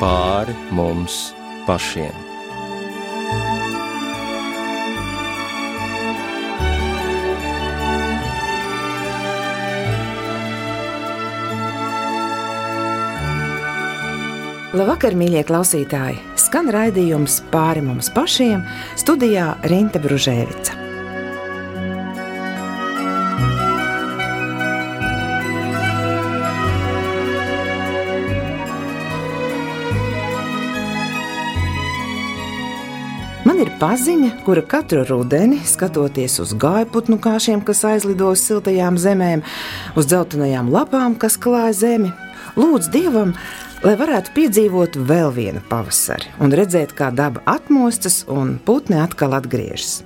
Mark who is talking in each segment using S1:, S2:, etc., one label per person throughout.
S1: pāri mums pašiem.
S2: Labvakar, mīļie klausītāji! Skan raidījums pāri mums pašiem studijā Rīta Brunzēvica. Man ir paziņa, kura katru rudeni, skatoties uz gaiputnu kāšiem, kas aizlido uz siltajām zemēm, uz dzeltenajām lapām, kas klāj zemi, lūdz dievam, lai varētu piedzīvot vēl vienu pavasari un redzēt, kā daba atmostas un putni atkal atgriežas.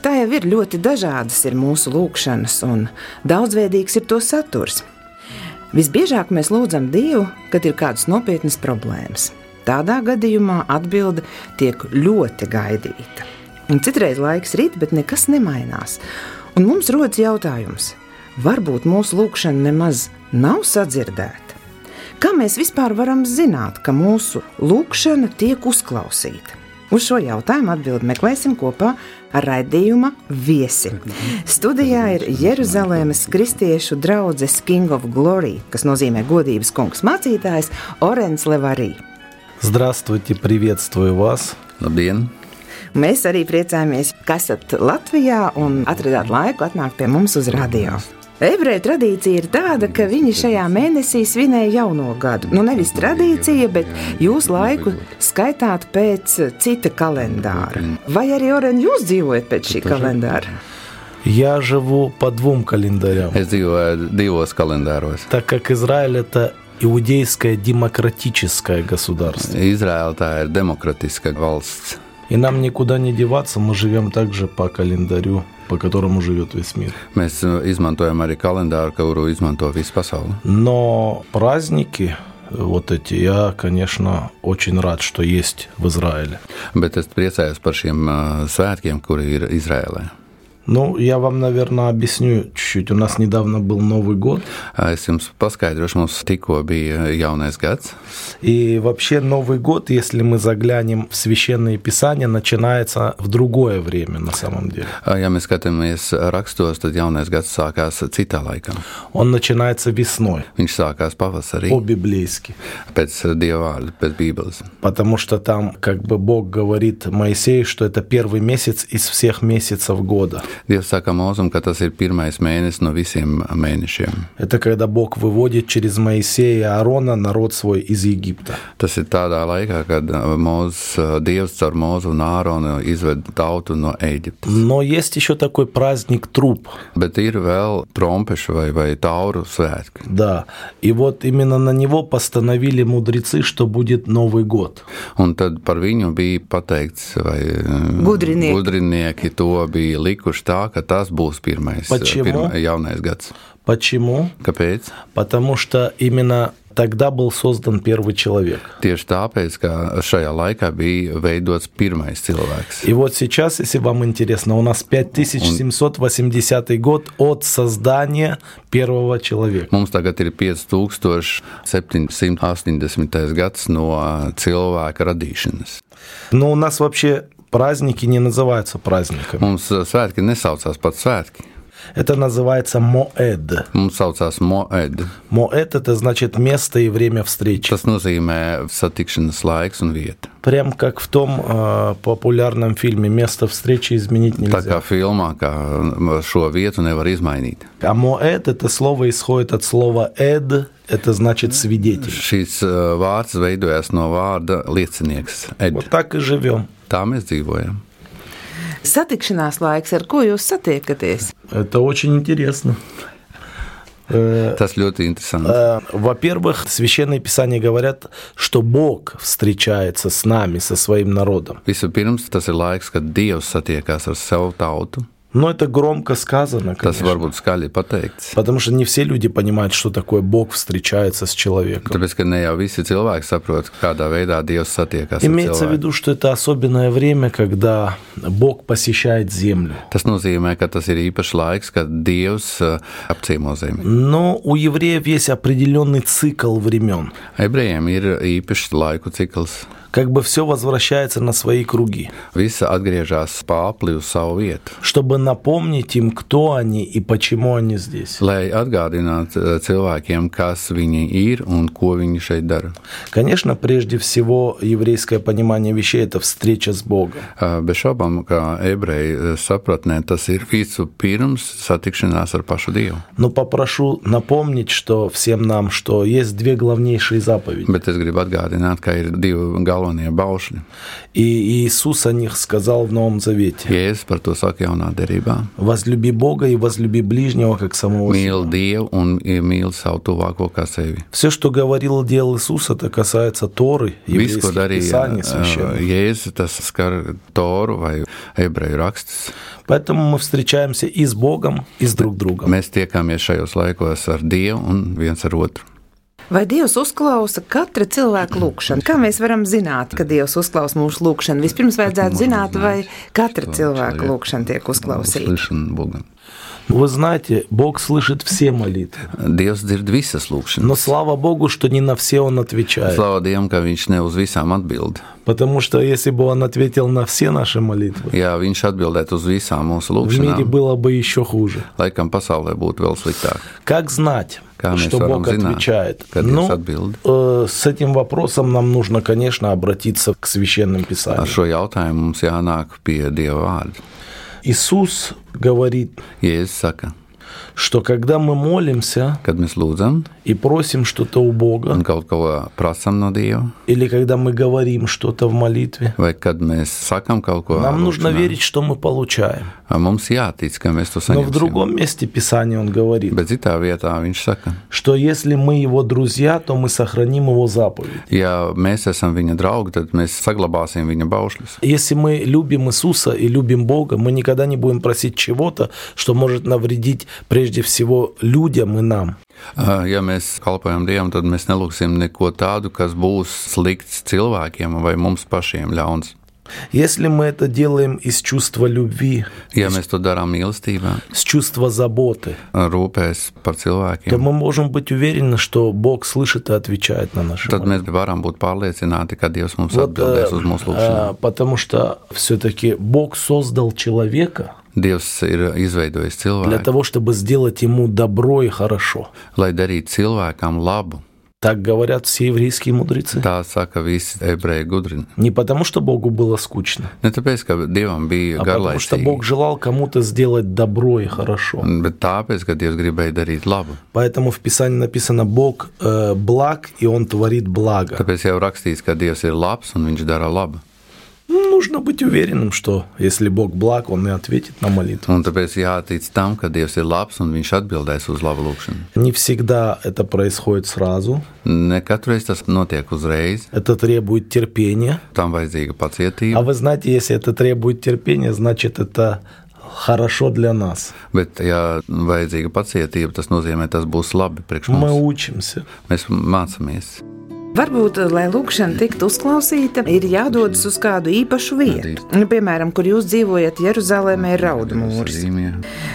S2: Tā jau ir ļoti dažādas ir mūsu lūkšanas, un daudzveidīgs ir to saturs. Visbiežāk mēs lūdzam Dievu, kad ir kādas nopietnas problēmas. Tādā gadījumā atbilde tiek ļoti gaidīta. Un citreiz laiks rīt, bet nekas nemainās. Un mums rodas jautājums, varbūt mūsu lūkšana nemaz nav sadzirdēta. Kā mēs vispār varam zināt, ka mūsu lūkšana tiek uzklausīta? Uz šo jautājumu atbildi meklēsim kopā ar raidījuma viesi. Studijā ir Jeruzalemes kristiešu draugs King of Glory, kas nozīmē godības kungs mācītājs Orens Levarī.
S3: Здравствуйте, приветствую вас.
S1: Labdien!
S2: Mēs arī priecājamies, ka esat Latvijā un atradāt laiku atnākt pie mums uz radio. Ebreju tradīcija ir tāda, ka viņi šajā mēnesī svinēja jauno gadu. Nu, nevis tradīcija, bet jūs laiku skaitāt pēc cita kalendāra. Vai arī Oren, jūs dzīvojat pēc šī kalendāra?
S3: Я живу по двум календарям,
S4: Es dzīvoju divos kalendāros.
S3: так как Израиль это иудейское демократическое государство.
S4: Izraēla tā ir demokratiska valsts.
S3: И нам никуда не деваться, мы живем также по каlenдарю, по которому живет весь мир.
S4: Mēs uh, izmantojam arī kalendāru, kuru izmanto visu pasauli.
S3: Но праздники э, вот эти, я, конечно, очень рад, что есть в Израиле.
S4: Bet es priecājos par šiem uh, svētkiem, kuri ir Izraēlē.
S3: Ну, я вам, наверное, объясню чуть-чуть. У нас недавно был Новый год,
S4: Es jums paskaidrošu, mums tikko bija jaunais gads.
S3: И вообще Новый год, если мы заглянем в священные писания, начинается в другое время на самом деле.
S4: Uh, Ja mēs skatāmies rakstos, tad jaunais gads sākās citā laikā.
S3: Он начинается весной
S4: Viņš sākās pavasarī
S3: по-библейски,
S4: pēc uh, dieva vārda, pēc Bībeles.
S3: потому что там как бы Бог говорит Моисею, что это первый месяц из всех месяцев года.
S4: Dievs saka mūzum, ka tas ir pirmais mēnesis no visiem mēnešiem.
S3: Это когда Бог выводит через Моисея и Аарона народ свой из Египta.
S4: Tas ir tādā laikā, kad uh, Mozus, uh, Dievs caur Mozu un Āronu izved tautu no Eģiptes.
S3: Но есть еще такой праздник труп,
S4: Bet ir vēl trompešu vai, vai tauru svētki.
S3: да. И вот именно на него постановили mudрецы, что будет Новый год.
S4: Un tad par viņu bija pateikts, vai uh,
S2: Gudrinieki.
S4: gudrinieki to bija likuši tā, ka tas būs pirmais, uh,
S3: Pačemu?
S4: jaunais gads.
S3: Почему?
S4: Kāpēc?
S3: Потому что именно тогда был создан первый человек.
S4: Tieši tāpēc, ka šajā laikā bija veidots pirmais cilvēks.
S3: И вот сейчас, если вам интересно, у нас 5780 год от создания первого человека.
S4: Mums tagad ir 5780. gads no uh, cilvēka radīšanas.
S3: Но у нас вообще праздники не называются праздниками.
S4: Mums uh, svētki nesaucās pat svētki.
S3: Это называется моэд.
S4: Mums saucās Moed.
S3: Моэд – это значит место и время встречи.
S4: Tas nozīmē satikšanas laiks un vieta.
S3: Прям как в том э, популярном фильме «Место встречи изменить
S4: Tā kā
S3: нельзя».
S4: filmā, kā mm, šo vietu nevar izmainīt.
S3: А моэд – это слово исходит от слова «эд», это значит свидетель.
S4: Šis uh, vārds veidojās no vārda liecinieks. Ed.
S3: Вот так и живем.
S4: Tā mēs dzīvojam.
S2: Satikšanās laiks, ar ko jūs satiekaties?
S3: Это очень интересно. Э,
S4: Tas ļoti interesanti.
S3: э, Во-первых, священные писания говорят, что Бог встречается с нами, со своим народом.
S4: Vispirms tas ir laiks, kad Dievs satiekās ar savu tautu.
S3: Но это громко сказано,
S4: Tas
S3: конечно.
S4: varbūt skaļi pateikts.
S3: Потому что не все люди понимают, что такое Бог встречается с человеком.
S4: Tāpēc, ka ne jau visi cilvēki saprot, kādā veidā Dievs satiekas ar
S3: Имеется в
S4: cilvēku.
S3: виду, что это особенное время, когда Бог посещает землю.
S4: Tas nozīmē, ka tas ir īpašs laiks, kad Dievs uh, apciemo zemi.
S3: Но у евреев есть определенный цикл времен.
S4: Ebrejiem ir īpašs laiku cikls.
S3: Как бы все возвращается на свои круги,
S4: Visi atgriežas pāri uz savu vietu,
S3: чтобы напомнить им, кто они и почему они здесь.
S4: lai atgādinātu uh, cilvēkiem, kas viņi ir un ko viņi šeit dara.
S3: Конечно, прежде всего, еврейское понимание вещей – это встреча с Богом.
S4: Uh, Bez šaubām, kā ebreju uh, sapratnē, tas ir visu pirms satikšanās ar pašu Dievu.
S3: Но попрошу напомнить, что всем нам, что есть две главнейшие заповеди.
S4: Bet es gribu atgādināt, ka ir divi galvenie baušļi.
S3: И Иисус о них сказал в Новом Завете.
S4: Jēzus par to saka jaunā derībā.
S3: «Возлюби Бога и возлюби ближнего, как самого себя».
S4: Mīli Dievu un mīli savu tuvāko kā sevi.
S3: Все, что говорил и делал Иисус, это касается Торы,
S4: Viss, ko
S3: еврейских
S4: darīja
S3: писаний
S4: ā,
S3: священных.
S4: Jēzus, tas skar Toru vai ebreju rakstus.
S3: Поэтому мы встречаемся и с Богом, и с друг другом.
S4: Mēs tiekamies šajos laikos ar Dievu un viens ar otru.
S2: Vai Dievs uzklausa katra cilvēka lūgšanu? Kā mēs varam zināt, ka Dievs uzklausa mūsu lūgšanu? Vispirms vajadzētu zināt, vai katra cilvēka lūgšana tiek uzklausīta.
S4: Uzklausīšana Bogam.
S3: Вы знаете, Бог слышит все молитвы.
S4: Dievs dzird visas
S3: Но
S4: lūgšanas.
S3: слава Богу, что не на все Он отвечает.
S4: Slavu Dievam, ka Viņš ne uz visām atbild.
S3: Потому что если бы он ответил на все наши молитвы,
S4: Ja Viņš atbildētu uz visām mūsu
S3: в мире
S4: lūgšanām,
S3: было бы еще хуже.
S4: laikam pasaulē būtu vēl sliktāk.
S3: Как знать,
S4: Как
S3: что
S4: мы
S3: Бог
S4: сразу знаем,
S3: отвечает? Ну,
S4: когда есть отбилд.
S3: э, с этим вопросом нам нужно, конечно, обратиться к священным писаниям.
S4: Ar šo jautājumu mums jānāk pie Dieva vārda.
S3: Иисус говорит,
S4: Jēzus saka,
S3: что когда мы молимся
S4: kad mēs lūdzam
S3: и просим что-то у Бога,
S4: un kaut ko prasam no Dieva,
S3: или когда мы говорим что-то в молитве,
S4: vai kad mēs sakam kaut ko
S3: нам нужно
S4: lūgšanā,
S3: верить, что мы получаем.
S4: Mums jātic, ka mēs to
S3: Но в
S4: saņemsim.
S3: другом месте Писания он говорит,
S4: Bet citā vietā viņš saka,
S3: что если мы его друзья, то мы сохраним его заповедь.
S4: ja mēs esam viņa draugi, tad mēs saglabāsim viņa baušļus.
S3: Если мы любим Иисуса и любим Бога, мы никогда не будем просить чего-то, что может навредить прежде всего людям и нам.
S4: Ā, Ja mēs kalpojam Dievam, tad mēs nelūksim neko tādu, kas būs slikts cilvēkiem vai mums pašiem ļauns.
S3: Если мы это делаем из чувства любви,
S4: Ja mēs to darām mīlestībā,
S3: с чувства заботы,
S4: rūpēs par
S3: то
S4: cilvēkiem,
S3: мы можем быть уверены, что Бог слышит и отвечает на наши
S4: tad
S3: молитвы.
S4: mēs varam būt pārliecināti, ka Dievs mums
S3: Вот, э,
S4: atbildēs uz mūsu lūgšanām.
S3: э, потому что все-таки Бог создал человека
S4: Dievs ir izveidojis
S3: для
S4: cilvēku,
S3: того, чтобы сделать ему добро и хорошо.
S4: lai darītu cilvēkam labu.
S3: Так говорят все еврейские мудрецы.
S4: Tā saka visi ebreji gudrini.
S3: Не потому, что Богу было скучно,
S4: Ne tāpēc, ka Dievam bija
S3: А потому что
S4: garlaicīgi,
S3: Бог желал кому-то сделать добро и хорошо.
S4: bet tāpēc, ka Dievs gribēja darīt labu.
S3: Поэтому в Писании написано «Бог э, благ, и Он творит благо».
S4: Tāpēc jau rakstīts, ka Dievs ir labs un viņš dara labu.
S3: Ну, Нужно быть уверенным, что если Бог благ, Он и ответит на молитву.
S4: Un tāpēc jātic tam, ka Dievs ir labs un viņš atbildēs uz labu lūgšanu.
S3: Не всегда это происходит сразу.
S4: Ne katru reizi tas notiek uzreiz,
S3: Это требует терпения.
S4: tam vajadzīga
S3: А
S4: pacietība,
S3: вы знаете, если это требует терпения, значит это хорошо для нас.
S4: bet, ja vajadzīga pacietība, tas nozīmē, tas būs labi priekš
S3: Мы
S4: mums.
S3: учимся.
S4: Mēs mācāmies.
S2: Varbūt, eh, lai lūkšana tiktu uzklausīta, ir jādodas uz kādu īpašu vietu. Nu, piemēram, kur jūs dzīvojat, Jeruzalemē ir raudu mūris.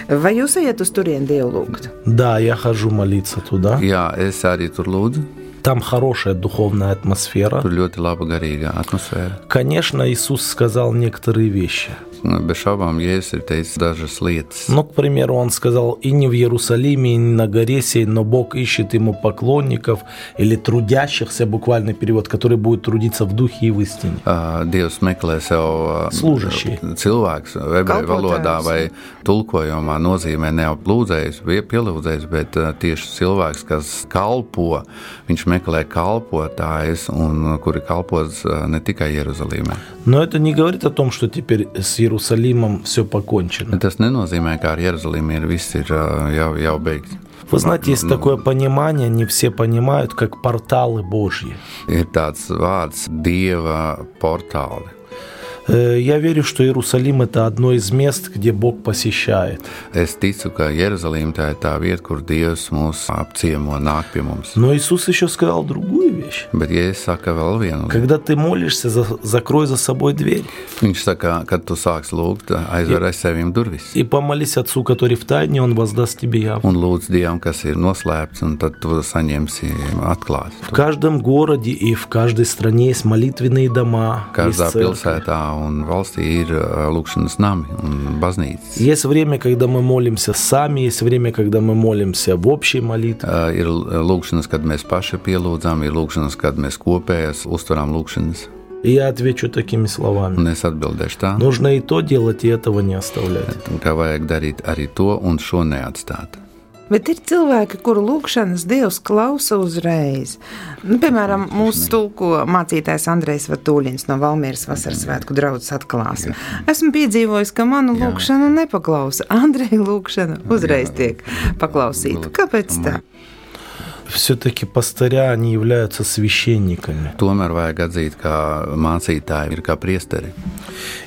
S2: Vai jūs ejat uz turieni dievu lūgt?
S3: Да, я хожу молиться туда.
S4: Jā, es arī tur lūdzu.
S3: Там хорошая духовная атмосфера.
S4: Tur ļoti laba garīga atmosfēra.
S3: Конечно, Иисус сказал некоторые вещи.
S4: Bez šaubām, Jēzus ir teicis dažas lietas.
S3: Ну, к примеру, он сказал, и не в Иерусалиме, и не на горе сей, но Бог ищет ему поклонников или трудящихся, буквальный перевод, которые будут трудиться в духе и в истине.
S4: Ā, Uh, Dievs meklē sev ā,
S3: Služašie.
S4: cilvēks, uh, ebreju
S2: Kalpotājus.
S4: valodā vai tulkojumā nozīmē ne jau lūdzējs, vai pielūdzējs, bet ā, tieši cilvēks, kas kalpo. Viņš meklē kalpotājus, un, uh, kuri kalpos ā, ne tikai Jeruzalemē.
S3: Но это не говорит о том, что теперь с Иерусалимом все покончено.
S4: Tas nenozīmē, ka ar Jeruzalemi ir viss ir ā, jau, jau beigts.
S3: Вы знаете, есть такое понимание, не все понимают, как порталы Божьи.
S4: Ir tāds vārds, dieva portāli.
S3: Э, Я верю, что Иерусалим – это одно из мест, где Бог посещает.
S4: Es ticu, ka Jeruzaleme tā ir tā vieta, kur Dievs mūs apciemo un nāk pie mums.
S3: Но Иисус еще сказал другую вещь.
S4: Bet ja es saku vēl vienu lietu,
S3: Когда ты молишься, за- закрой за собой дверь
S4: viņš saka, kad tu sāksi lūgt, aizver aiz sevīm durvis.
S3: и помолись Отцу, который в тайне, Он воздаст тебе явно.
S4: Un lūdz Dievam, kas ir noslēpts, un tad tu saņemsi atklāti.
S3: В каждом городе и в каждой стране есть молитвенные дома.
S4: Katrā
S3: есть церкви.
S4: pilsētā un valstī ir ā, lūkšanas nami un baznīcas.
S3: Есть время, когда мы молимся сами, есть время, когда мы молимся в общей молитве.
S4: Ā, Uh, Ir l- lūkšanas, kad mēs paši pielūdzam, ir lūkšanas, kad mēs kopējas uztveram lūkšanas.
S3: И я отвечу такими словами.
S4: Un es atbildēšu tā,
S3: Нужно и то делать, и этого не оставлять.
S4: ka vajag darīt arī to un šo neatstāt.
S2: Bet ir cilvēki, kuru lūgšanas dievs klausa uzreiz. Nu, piemēram, mūsu tulko mācītājs Andrejs Vatūļins no Valmieras Vasaras svētku draudzes atklāsmes. Esmu piedzīvojis, ka manu lūgšanu nepaklausa. Andreja lūgšana uzreiz tiek paklausīta. Kāpēc tā?
S3: Все-таки пастыря, они являются священниками.
S4: Tomēr vajag atzīt, ka mācītāji ir kā priesteri.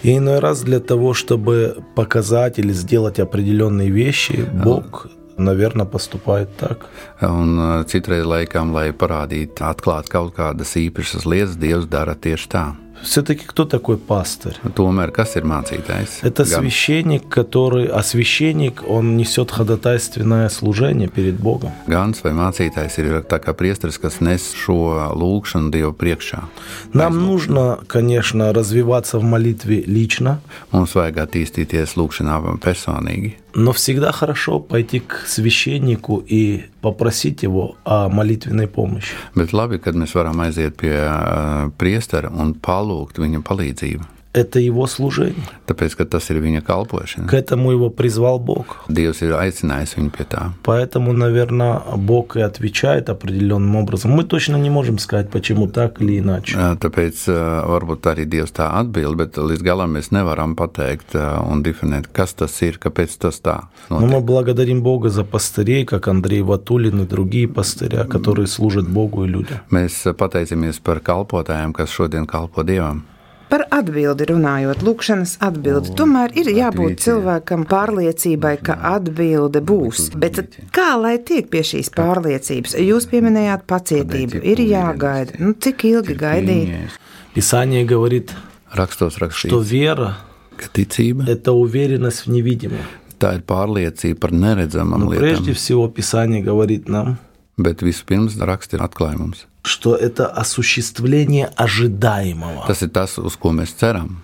S3: И иной раз для того, чтобы показать или сделать определенные вещи, Бог, наверное, поступает так.
S4: Un ā, citreiz, laikam, lai parādītu, atklātu kaut kādas īpašas lietas, Dievs dara tieši tā.
S3: Все-таки кто такой пастырь?
S4: Tomēr kas ir mācītājs?
S3: Это
S4: Gan-
S3: священник, который... А священник, он несет ходатайственное служение перед Бogom.
S4: Gans vai mācītājs ir tā kā priesteris, kas nes šo lūgšanu Dievu priekšā.
S3: Нам нужно, конечно, развиваться в молитве лично,
S4: Mums vajag attīstīties lūgšanā personīgi.
S3: но всегда хорошо пойти к священнику и попросить его о молитвенной помощи.
S4: Bet labi, kad mēs varam aiziet pie ā, priestera un palūgt viņa palīdzību,
S3: Это его служение.
S4: tāpēc, ka tas ir viņa
S3: К
S4: kalpošana.
S3: этому его призвал Бог.
S4: Dievs ir aicinājis viņu pie tā.
S3: Поэтому, наверное, Бог и отвечает определенным образом. Мы точно не можем сказать, почему так или иначе.
S4: Ā, Tāpēc ā, varbūt arī Dievs tā atbild, bet līdz galam mēs nevaram pateikt ā, un definēt, kas tas ir, kāpēc tas tā
S3: Но
S4: Nu,
S3: Ну, мы
S4: notiek.
S3: благодарим Бога за пастырей, как Андрей Ватулин и другие пастыря, которые служат Богу и людям.
S4: Mēs ā, pateicamies par kalpotājiem, kas šodien kalpo Dievam.
S2: Par atbildi runājot, lūkšanas atbildi. Tomēr ir jābūt
S4: atbildīte.
S2: cilvēkam pārliecībai, ka atbilde būs. Bet kā lai tiek pie šīs pārliecības? Jūs pieminējāt pacietību, ir jāgaida. Nu, cik ilgi gaidīt?
S3: Писание говорит,
S4: Rakstos
S3: что
S4: rakstīts,
S3: вера
S4: ka
S3: –
S4: ticība
S3: это уверенность в невидимом.
S4: tā ir pārliecība par neredzamām
S3: Но
S4: lietām.
S3: прежде всего Писание говорит нам,
S4: Bet vispirms raksts ir atklājums.
S3: что это осуществление ожидаемого.
S4: Tas ir tas, uz ko mēs ceram.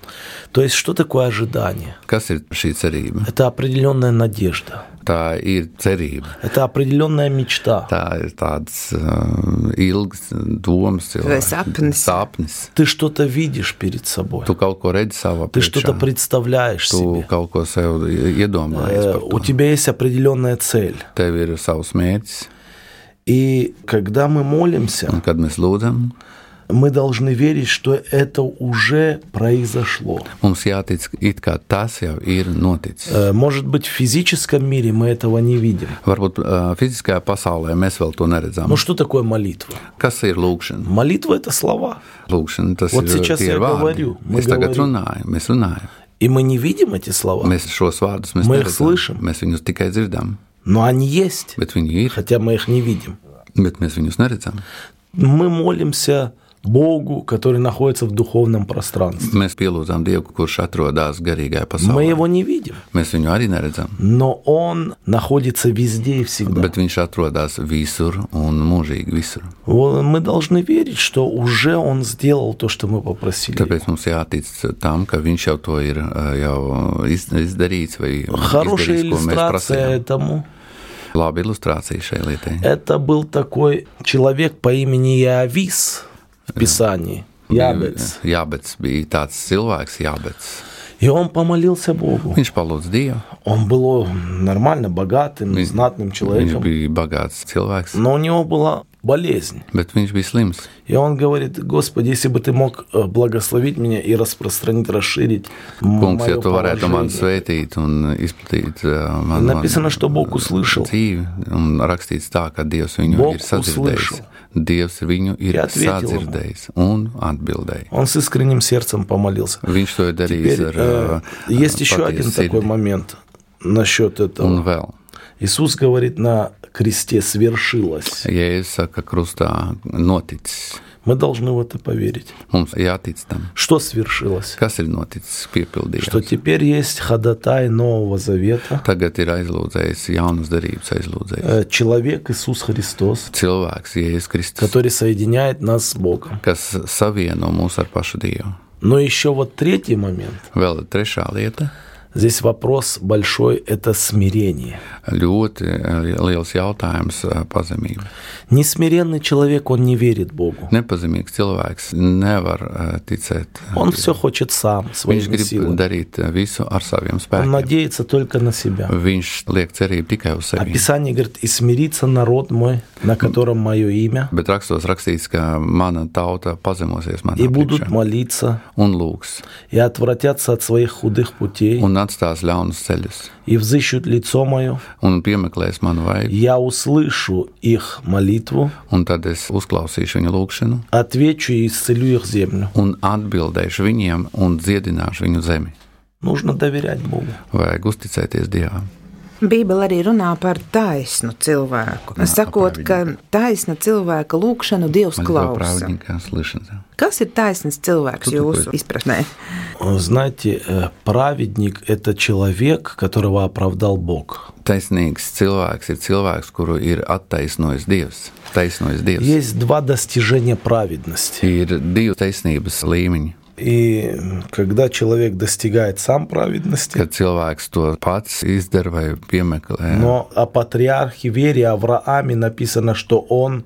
S3: То есть что такое ожидание?
S4: Kas ir šī cerība?
S3: Это определенная надежда,
S4: Tā ir cerība.
S3: это определенная мечта.
S4: Tā ir tāds uh, ilgs domas, cilvēks.
S2: sapnis.
S4: sapnis.
S3: Ты что-то видишь перед собой,
S4: Tu kaut ko redzi savā
S3: ты что-то
S4: priekšā.
S3: представляешь
S4: Tu
S3: себе.
S4: kaut ko sev iedomājies
S3: Э,
S4: par
S3: У
S4: to.
S3: тебя есть определенная цель.
S4: Tev ir savs mērķis,
S3: И когда мы
S4: un
S3: молимся,
S4: kad mēs lūdzam,
S3: мы должны верить, что это уже произошло.
S4: mums jātic, it kā tas jau ir noticis.
S3: Э, Может быть, в физическом мире мы этого не видим.
S4: Varbūt uh, fiziskajā pasaulē mēs vēl to neredzam.
S3: Но что такое молитва?
S4: Kas ir lūkšana?
S3: Молитва – это слова.
S4: Lūkšana tas
S3: Вот
S4: ir
S3: сейчас
S4: tie
S3: я
S4: ir vārdi.
S3: говорю, мы
S4: Mēs tagad
S3: говорим.
S4: runājam, mēs runājam.
S3: И мы не видим эти слова,
S4: Mēs šos vārdus mēs
S3: Мы их
S4: neredzam.
S3: слышим.
S4: Mēs viņus tikai dzirdam,
S3: но они есть,
S4: bet viņi ir,
S3: хотя мы их не видим.
S4: bet mēs viņus neredzam.
S3: Мы молимся Богу, который находится в духовном пространстве.
S4: Mēs pielūdzam Dievu, kurš atrodas garīgajā
S3: Мы
S4: pasaulē.
S3: его не видим,
S4: Mēs viņu arī neredzam,
S3: но он находится везде и всегда.
S4: bet viņš atrodas visur un mūžīgi visur.
S3: Вот Мы должны верить, что уже он сделал то, что мы попросили.
S4: Tāpēc mums jātic tam, ka viņš jau to ir ā, jau iz- izdarījis vai
S3: Хорошая
S4: izdarījis, ko mēs
S3: иллюстрация
S4: prasījām.
S3: этому
S4: Labi ilustrācija šai
S3: –
S4: lietai.
S3: это был такой человек по имени Иавис в Писании, Иавис.
S4: Jābets bija tāds cilvēks, Jābets.
S3: И он помолился Богу.
S4: Viņš palūdz Dievu.
S3: Он был нормально богатым, знатным
S4: Viņš
S3: человеком,
S4: bija bagāts cilvēks.
S3: но у него была болезнь.
S4: Bet viņš bija slims.
S3: И он говорит, Господи, если бы ты мог э, благословить меня и распространить, расширить м-
S4: Kungs, ja
S3: моё
S4: tu varētu man
S3: положение».
S4: sveitīt un izplatīt uh, man,
S3: Написано, что Бог услышал.
S4: dzīvi, un rakstīts tā, ka Dievs viņu
S3: Bog
S4: ir sadzirdējis.
S3: услышал.
S4: Dievs viņu ir
S3: Я ответил ему.
S4: sadzirdējis un atbildējis.
S3: Он с искренним сердцем помолился.
S4: Viņš to ir darījis
S3: Теперь,
S4: ar
S3: э,
S4: uh,
S3: есть еще один
S4: patiesu
S3: такой
S4: sirdi.
S3: момент насчет
S4: Un
S3: этого.
S4: vēl.
S3: Иисус говорит на кресте «свершилось».
S4: Jēzus saka, krustā noticis.
S3: Мы должны в это поверить.
S4: Mums jātic tam.
S3: Что свершилось?
S4: Kas ir noticis?
S3: Что
S4: Piepildījums.
S3: теперь есть ходатай Нового Завета,
S4: Tagad ir aizlūdzējis jaunas darības aizlūdzējis.
S3: э, человек Иисус Христос,
S4: Cilvēks, Jēzus Kristus,
S3: который soedиняет нас с Богом.
S4: kas savieno mūs ar pašu Dievu.
S3: Но еще вот третий момент.
S4: Vēl trešā lieta.
S3: Здесь вопрос большой – это смирение.
S4: Ļoti eh, liels jautājums eh, pazemība.
S3: Несмиренный человек, он не верит Богу.
S4: Nepazemīgs cilvēks nevar eh, ticēt.
S3: Он все хочет сам,
S4: Viņš
S3: своими
S4: grib
S3: силами.
S4: darīt eh, visu ar saviem
S3: Он
S4: spēkiem.
S3: надеется только на себя.
S4: Viņš liek cerību tikai uz
S3: А
S4: sevi.
S3: Писание говорит, и смирится народ мой, на котором мое имя,
S4: Bet rakstos rakstīts, ka mana tauta pazemosies manā
S3: и будут
S4: priekšā
S3: молиться,
S4: un lūgs,
S3: и отвратятся от своих худых путей,
S4: un atstās ļaunus ceļus,
S3: и взыщут лицо мое,
S4: un piemeklēs manu vaigu,
S3: я услышу их молитву,
S4: un tad es uzklausīšu viņu lūgšanu,
S3: отвечу и исцелю их землю.
S4: un atbildēšu viņiem, un dziedināšu viņu zemi.
S3: Нужно доверять Богу.
S4: Vajag uzticēties Dievam.
S2: Bībele arī runā par taisnu cilvēku. Sakot, ka taisna cilvēka lūgšanu Dievs
S4: Молитва
S2: klausa.
S4: праведника слышится.
S2: Kas ir taisnīgs cilvēks
S4: Tu
S2: jūsu
S4: takoji.
S2: izpratnē?
S3: Знаете, э, праведник – это человек, которого оправдал Бог.
S4: Taisnīgs cilvēks ir cilvēks, kuru ir attaisnojis Dievs. Taisnojis Dievs.
S3: Есть два достижения праведности.
S4: Ir divi taisnības līmeņi.
S3: И когда человек достигает сам праведности,
S4: Kad cilvēks to pats izdara vai piemeklē,
S3: но о патриархе Вере Аврааме написано, что он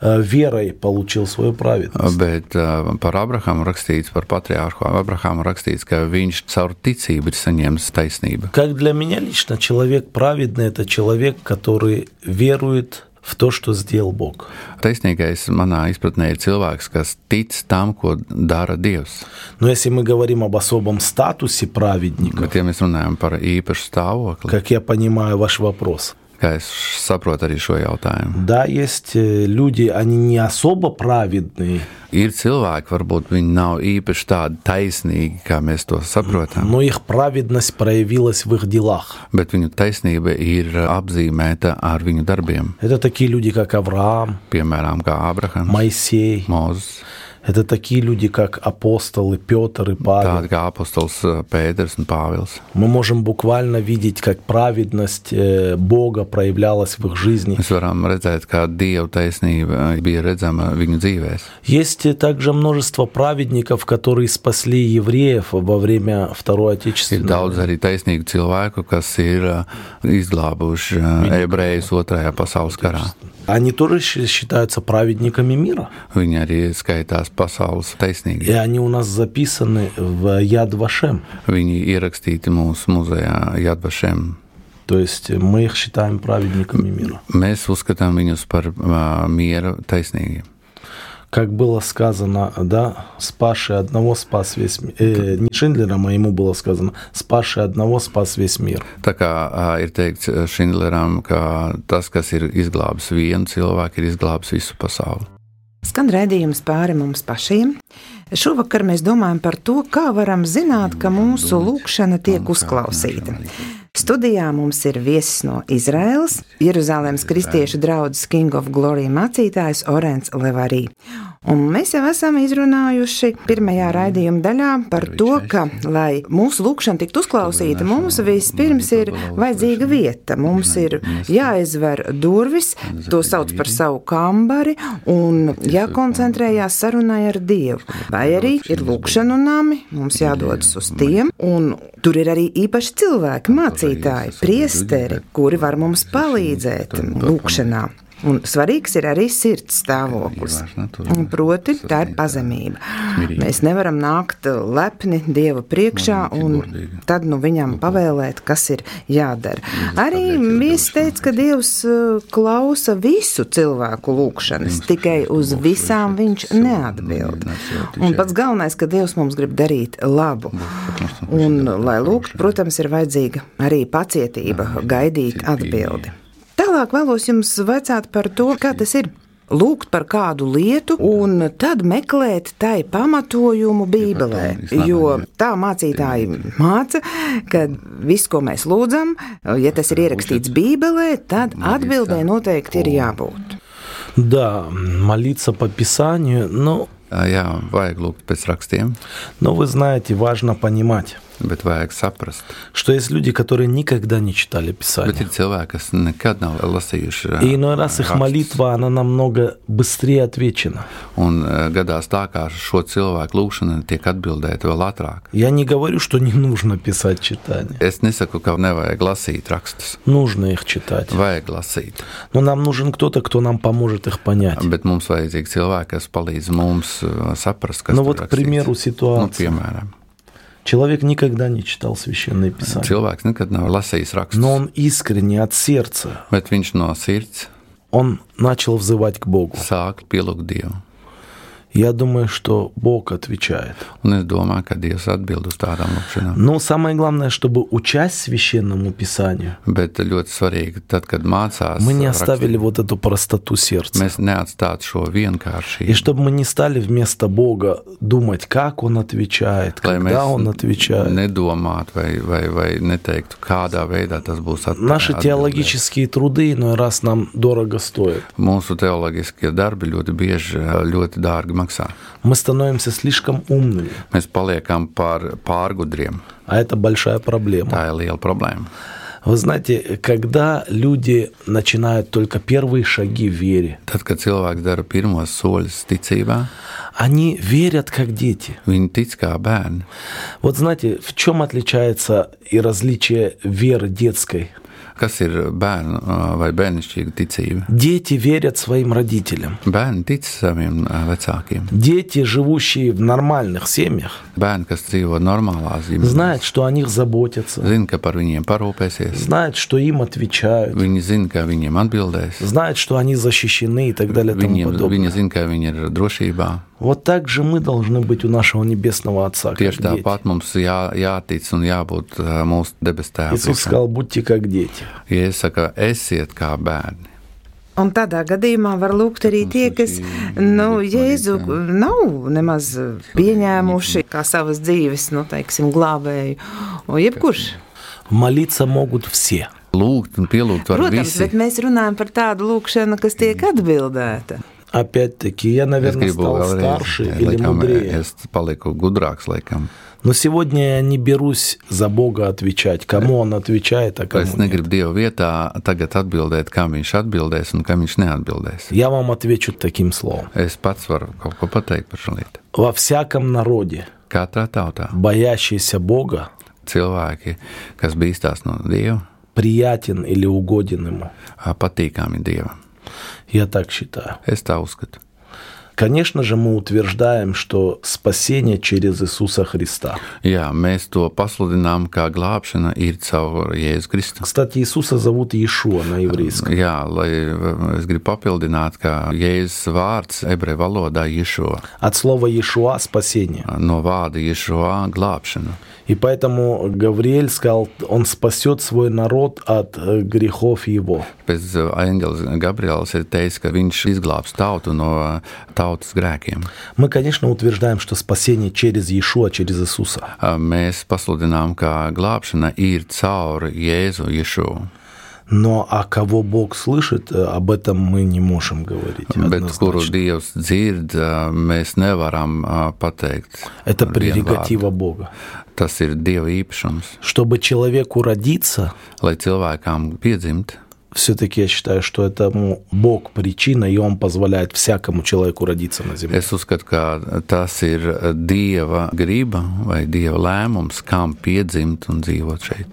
S3: э, верой получил свою праведность.
S4: Bet uh, par Abrahamu rakstīts, par patriārhu Abrahamu rakstīts, ka viņš caur ticību ir saņēmis taisnību.
S3: Как для меня лично, человек праведный – это человек, который верует в то, что сделал Бог.
S4: Taisnīgais manā izpratnē ir cilvēks, kas tic tam, ko dara Dievs.
S3: Но если мы говорим об особом статусе праведника,
S4: Bet, ja mēs runājam par īpašu stāvokli,
S3: как я понимаю ваш вопрос,
S4: kā es saprotu arī šo jautājumu,
S3: да, есть э, люди, они не особо праведные,
S4: ir cilvēki, varbūt viņi nav īpaši tādi taisnīgi, kā mēs to saprotam,
S3: но их праведность проявилась в их делах.
S4: bet viņu taisnība ir apzīmēta ar viņu darbiem,
S3: Это такие люди, как Авраам,
S4: piemēram, kā Abrahams,
S3: Моисей,
S4: Mozus.
S3: это такие люди, как апостолы Петр и Павел.
S4: Tāda kā apustulis Pēters un Pāvils.
S3: Мы можем буквально видеть, как праведность э, Бога проявлялась в их жизни.
S4: Mēs varam redzēt, kā dieva taisnība bija redzama viņu dzīvēm.
S3: Есть э, также множество праведников, которые спасли евреев во время Второй Отечественной
S4: Ir daudz arī taisnīgu cilvēku, kas ir ā, izglābuši ā, ebrejus Otrajā pasaules karā.
S3: Они тоже щи- считаются праведниками мира.
S4: Viņi arī skaitās pasaules
S3: И
S4: taisnīgi.
S3: они у нас записаны в Яд Вашем.
S4: Viņi ierakstīti mūsu muzejā Jadbašiem.
S3: То есть э, мы их считаем праведниками мира.
S4: Mēs uzskatām viņus par ā, miera taisnīgiem.
S3: Как было сказано, да, спасший одного спас весь мир. не Шиндлером, а ему было сказано, спасший одного спас весь мир.
S4: Tā kā ā, ir teikts ā, Šindleram, ka tas, kas ir izglābis vienu cilvēku, ir izglābis visu pasauli.
S2: Skan redzējums pāri mums pašiem. Šovakar mēs domājam par to, kā varam zināt, ka mūsu lūkšana tiek uzklausīta. Studijā mums ir viesis no Izraēlas, Jeruzalemes kristiešu draugs King of Glory mācītājs Orens Levarī. Un mēs jau esam izrunājuši pirmajā raidījuma daļā par to, ka, lai mūsu lūkšana tiktu uzklausīta, mums vispirms ir vajadzīga vieta. Mums ir jāizver durvis, to sauc par savu kambari, un jākoncentrējās sarunai ar Dievu. Vai arī ir lūkšanu nami, mums jādodas uz tiem, un tur ir arī īpaši cilvēki, mācītāji, priesteri, kuri var mums palīdzēt lūkšanā. Un svarīgs ir arī sirds stāvoklis.
S4: Ievēršanā tur.
S2: Un Proti, tā ir pazemība. Mēs nevaram nākt eh, lepni Dieva priekšā
S4: Godīgi,
S2: un
S4: godīgi.
S2: tad nu, viņam pavēlēt, kas ir jādara. Arī viss teica, ka Dievs uh, klausa visu cilvēku lūgšanas, tikai uz visām viņš neatbild. Un pats galvenais, ka Dievs mums grib darīt labu. Un, lai lūgtu, protams, ir vajadzīga arī pacietība, gaidīt atbildi. Tālāk vēlos jums vaicāt par to, kā tas ir. Lūgt par kādu lietu, un tad meklēt tai pamatojumu Bībelē. Jo tā mācītāji māca, ka viss, ko mēs lūdzam, ja tas ir ierakstīts Bībelē, tad atbildē noteikti ir jābūt.
S3: Да, молиться по Писанию, но,
S4: Jā, vajag lūgt pēc rakstiem,
S3: но вы знаете, важно понимать,
S4: bet vajag saprast.
S3: что есть люди, которые никогда не читали
S4: Bet
S3: Писание.
S4: ir cilvēki, kas nekad nav lasījuši.
S3: И иной раз их
S4: rakstus.
S3: молитва, она намного быстрее отвечена.
S4: Un eh, gadās tā, ka šo cilvēku lūgšana tiek atbildēta vēl ātrāk.
S3: Я не говорю, что не нужно писать читания.
S4: Es nesaku, ka nevajag lasīt rakstus.
S3: Нужно их читать.
S4: Vajag lasīt,
S3: Но нам нужен кто-то, кто нам поможет их понять.
S4: bet mums vajadzīgi cilvēki, kas palīdz mums eh, saprast, kas
S3: Ну
S4: tur
S3: вот, к
S4: rakstīts.
S3: примеру,
S4: nu,
S3: ситуация.
S4: piemēram,
S3: Человек никогда не читал священное писание,
S4: cilvēks nekad nav lasījis rakstus,
S3: но он искренне от сердца,
S4: bet viņš no sirds
S3: он начал взывать к Богу.
S4: sāk pielūgt Dievu.
S3: Я думаю, что Бог отвечает.
S4: Un es domāju, ka Dievs atbild uz tādām lūkšanām.
S3: Но самое главное, чтобы учась священному писанию,
S4: Bet ļoti svarīgi, tad, kad mācās,
S3: мы не оставили
S4: rakstīt,
S3: вот эту простоту сердца.
S4: mēs neatstāt šo
S3: И
S4: vienkāršību.
S3: чтобы мы не стали вместо Бога думать, как Он отвечает,
S4: Lai
S3: когда Он
S4: mēs
S3: отвечает.
S4: nedomātu, vai, vai, vai neteiktu, kādā veidā tas būs atbildēts.
S3: Наши теологические труды иной раз нам дорого стоят.
S4: Mūsu teoloģiskie darbi ļoti bieži eh, ļoti dārgi maksā.
S3: Мы становимся слишком умными,
S4: Mēs paliekam par pārgudriem.
S3: а это большая проблема.
S4: Tā ir liela problēma.
S3: Вы знаете, когда люди начинают только первые шаги в вере,
S4: Tad, kad cilvēks dara pirmos soļus ticībā,
S3: они верят как дети.
S4: viņi tic kā bērni.
S3: Вот знаете, в чем отличается и различие веры детской?
S4: Kas ir bērnu eh, vai bērnišķīga ticība?
S3: Дети верят своим родителям.
S4: Bērni tic saviem eh, vecākiem.
S3: Дети, живущие в нормальных семьях,
S4: Bērni, kas dzīvo normālās
S3: знают,
S4: ģimenēs,
S3: что о них заботятся,
S4: zina, ka par viņiem parūpēsies.
S3: знают, что им отвечают,
S4: Viņi zina, ka viņiem atbildēs.
S3: знают, что они защищены и так далее и тому
S4: Viņiem,
S3: подобное.
S4: viņi zina, ka viņi ir drošībā.
S3: Вот так же мы должны быть у нашего Небесного Отца, как
S4: Tieši
S3: дети.
S4: tāpat mums jā, jātic un jābūt eh, mūsu debes
S3: Иисус
S4: tēvam.
S3: сказал, будьте как дети.
S4: Ja es saku, esiet kā bērni,
S2: Un tādā gadījumā var lūgt arī tie, kas nu, Jēzu nav nemaz pieņēmuši kā savas dzīves, nu, teiksim, glābēju. Un Jebkurš.
S3: Молиться могут все.
S4: lūgt un pielūgt var
S2: Protams,
S4: visi.
S2: bet mēs runājam par tādu lūkšanu, kas tiek atbildēta.
S3: Опять-таки, я,
S4: Es
S3: наверное,
S4: gribu
S3: стал
S4: vēlreiz,
S3: старше
S4: eh,
S3: или
S4: laikam, eh,
S3: мудрее.
S4: es paliku gudrāks, laikam.
S3: Но сегодня я не берусь за Бога отвечать, кому Он отвечает, а
S4: Es
S3: кому нет.
S4: negribu Dievu vietā tagad atbildēt, kam viņš atbildēs un kam viņš neatbildēs.
S3: Я вам отвечу таким словом.
S4: Es pats varu kaut ko pateikt par šo lietu.
S3: Во всяком народе,
S4: Katrā tautā
S3: боящийся Бога,
S4: cilvēki, kas bīstās no Dieva,
S3: приятен или угоден Ему.
S4: eh, patīkami Dievam.
S3: Я так считаю.
S4: Es tā uzskatu.
S3: Конечно же, мы утверждаем, что спасение через Иисуса Христа.
S4: Jā, mēs to pasludinām, kā glābšana ir caur Jēzu Kristu.
S3: Кстати, Иисуса зовут Иешуа на еврейском.
S4: Jā, lai eh, es gribu papildināt, ka Jēzus vārds ebreju valodā ir šo
S3: От слова Иешуа – спасение.
S4: no vārda Jēzus glābšanu.
S3: И поэтому Гавриэль сказал, он спасет свой народ от э, грехов его.
S4: Pēc Angela Gabriels ir teicis, ka viņš izglābs tautu no tautas grēkiem.
S3: Мы, конечно, утверждаем, что спасение через Иешуа, через Иисуса.
S4: Mēs pasludinām, ka glābšana ir caur Jēzu Ješu.
S3: Но а кого Бог слышит, э, об этом мы не можем говорить.
S4: Bet kuru
S3: однозначно.
S4: Dievs dzird, mēs nevaram pateikt.
S3: Это
S4: ar vienu
S3: прерогатива Бога.
S4: vārdu. Tas ir Dieva īpašums.
S3: Чтобы человеку родиться,
S4: Lai cilvēkam piedzimt,
S3: все-таки я считаю, что этому Бог причина, и Он позволяет всякому человеку родиться на земле.
S4: es uzskatu, ka tas ir Dieva griba vai Dieva lēmums, kam piedzimt un dzīvot šeit.